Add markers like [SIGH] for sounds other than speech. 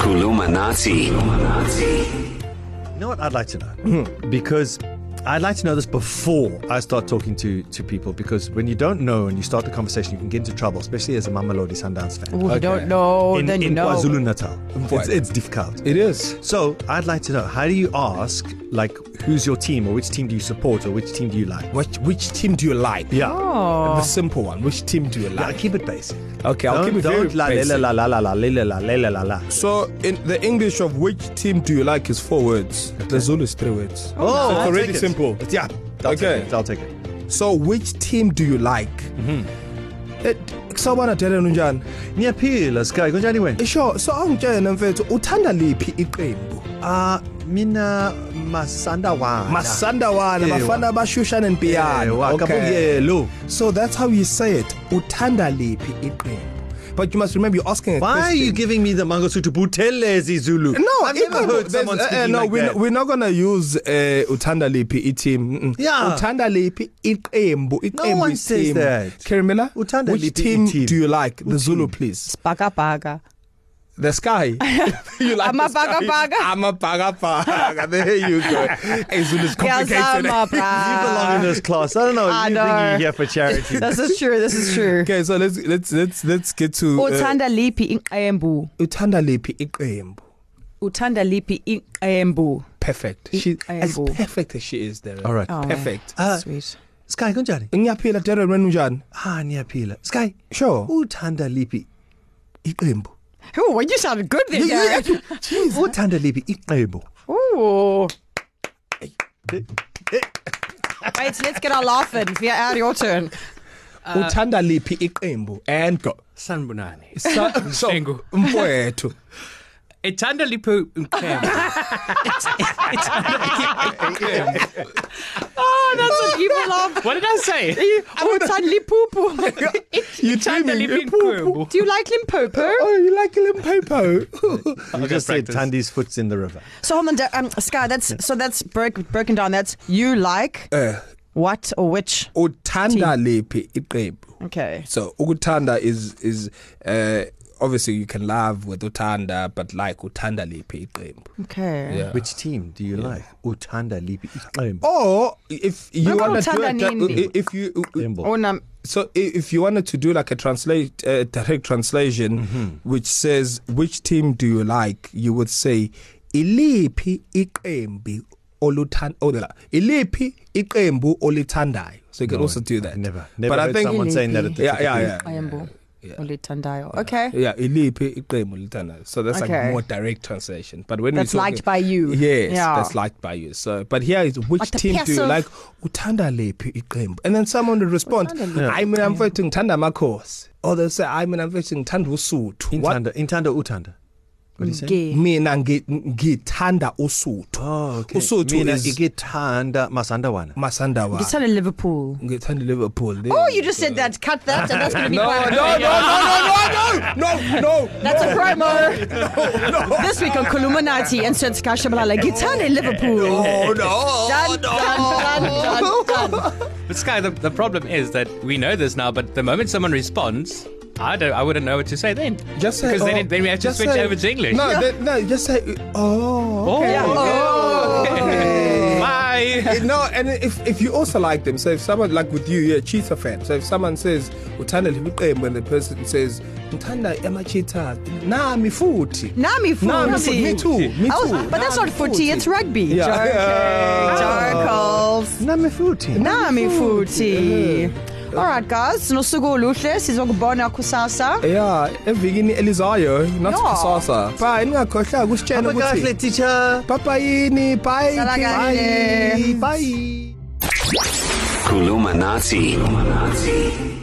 Illuminati. You know what I'd like to know? Hmm. Because I'd like to know this before I start talking to, to people. Because when you don't know and you start the conversation, you can get into trouble, especially as a Mamelodi Sundowns fan. Ooh, you don't Oh, know, in then you in know. KwaZulu Natal, it's, it's difficult. It is. so I'd like to know how do you ask like who's your team or which team do you support or which team do you like? Which, which team do you like? Yeah, The simple one. Which team do you yeah like? keep it basic. Okay, I'll don't, keep it don't very la, basic. La la la la la la la la la la la. So, in the English of which team do you like is four words. The Zulu is three words. Oh, so I'll already take it. simple. Yeah, I'll Okay. take it. I'll Mm-hmm. take it. So, which team do you like? kusawubona dele nunjani Ngiyaphila Sky kunjani wena? isho so angitshele mfethu uthanda liphi iqembu Ah mina Masandawana. masandawana Ewa. bafana bashusha Eh, Ewa, nempiyano kabuyelo. so that's how you say it uthanda liphi iqembu but you must remember you're asking a Why are question. you giving me the Mangosuthu Butelezi Zulu? No, I've never iqembu. heard There's- someone eh, eh, speaking no, like we're, that. We're not gonna use uh, uthanda liphi i-team. Mm-mm. Yeah. Uthanda liphi iqembu. iqembu one is says team. that. Kerimela, Uthanda which liphi team i-team? do you like? The Zulu, please. Baka baka. [LAUGHS] The [LAUGHS] sky. you like the sky? Amabhakabhaka. Amabhakabhaka. [LAUGHS] There you go. Hey, Zulu is complicated. [LAUGHS] Ngiyazama, You Ah. belong in bra. this class. I don't know. I you think know. you're here for [LAUGHS] charity. This is true. This is true. [LAUGHS] Okay, so let's let's let's let's get to Uthanda liphi iqembu? uh, uthanda liphi iqembu. Uthanda liphi iqembu? Perfect. She as Iqembu. perfect as she is there. All right. Oh, Perfect. Uh, Sweet. Sky kunjani? Ngiyaphila Darren wena unjani? Ah ngiyaphila. Sky. Sure. Uthanda liphi? Iqembu. Ooh, you sounded good there. Derek. Uthanda liphi Oh, iqembu? Ooh. Wait, let's get our laugh in. We are your turn. Uh, uthanda liphi iqembu and go [LAUGHS] sanibonani Sa- so Mhlengu. mfowethu ethanda lipho iqembu Oh, that's what people love. what did i say Uthanda [LAUGHS] lipupu. you ethanda lipho iqembu Do you like Limpopo? oh you like limpopo You just said Tandi's foot's in the river. So hold on, Da- um, Sky. That's so that's broke, broken down. That's you like Eh. what or which? uthanda liphi iqembu Okay. so ukuthanda is is uh obviously you can love with uthanda but like uthanda liphi iqembu Okay. Yeah. Oh, Which team do you yeah. like? Uthanda liphi iqembu? or if you Noma want to do uthanda nini? it, if you Iqembu. oh. Or num- so i- if you wanted to do like a translate uh, direct translation mm-hmm. which says which team do you like you would say iliphi iqembu oluthanda oh, la- iliphi iqembu olithandayo so you can no, also do that Never. Never but heard I think someone saying that at the yeah yeah Uh, yeah Ayambo. Olithandayo. Okay. yeah iliphi iqembu olithandayo so that's okay. Okay. like more direct translation but when That's we liked by you. yes Yeah. that's liked by you so but here is which Like the team do you passive- like uthanda liphi iqembu and then someone will respond Uthanda liphi i mean i'm fighting uthanda amakhosi or they say i mean i'm fighting uthanda usuthu What- Intanda, intanda uthanda. What do you say? Gay. mina ngi- ngithanda usuthu Oh, okay. usuthu Mina is igithanda masandawana. masandawa It's not a Liverpool. ngithanda liverpool there Oh, you just said that. Cut that. And that's going to be no, quite. [LAUGHS] no no no no no no That's a promo. this week on Kuluminati and Sir Sky Shabalala. Gitane Liverpool. no [LAUGHS] no Dun, dun, dun, dun, dun. but sky the, the problem is that we know this now but the moment someone responds I don't. I wouldn't know what to say then. just say, because oh, then, it- then we have to just switch say, over to English. No, then, no, just say oh. Oh, yeah. Oh. Okay. [LAUGHS] Bye. It, no, and if if you also like them, so if someone like with you, you're a cheetah fan. So if someone says uthanda lipiqembu, when the person says uthanda amacheetah, nami futhi. Nami Futi. Nami futhi. Me too. Me I was, too. but that's not Nami footy, it's rugby. Yeah. Joking, Yeah. Jarkles. Namifuthi. Nami futhi. Uh-huh. All right, guys. Nosuku oluhle sizokubona kusasa. Yeah, evikini elizayo, not Yeah. kusasa. Bye, ningakhohlwa ukusitshela ukuthi Abakahle teacher. papa yini, bye. Sala kids. kahle. Bye. Kulumanati. Kulumanati.